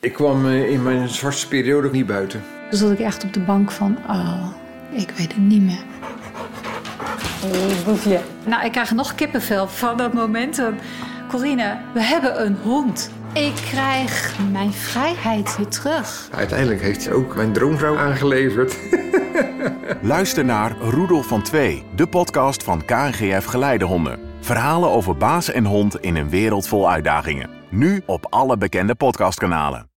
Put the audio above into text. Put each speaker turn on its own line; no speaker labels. Ik kwam eh, in mijn zwartste periode ook niet buiten.
Toen Dus zat ik echt op de bank van, oh, ik weet het niet meer.
Boefje.
Nou, ik krijg nog kippenvel van dat moment. Want, Corine, we hebben een hond. Ik krijg mijn vrijheid weer terug.
Uiteindelijk heeft hij ook mijn droomvrouw aangeleverd.
Luister naar Roedel van 2, de podcast van KNGF Geleidehonden. Verhalen over baas en hond in een wereld vol uitdagingen. Nu op alle bekende podcastkanalen.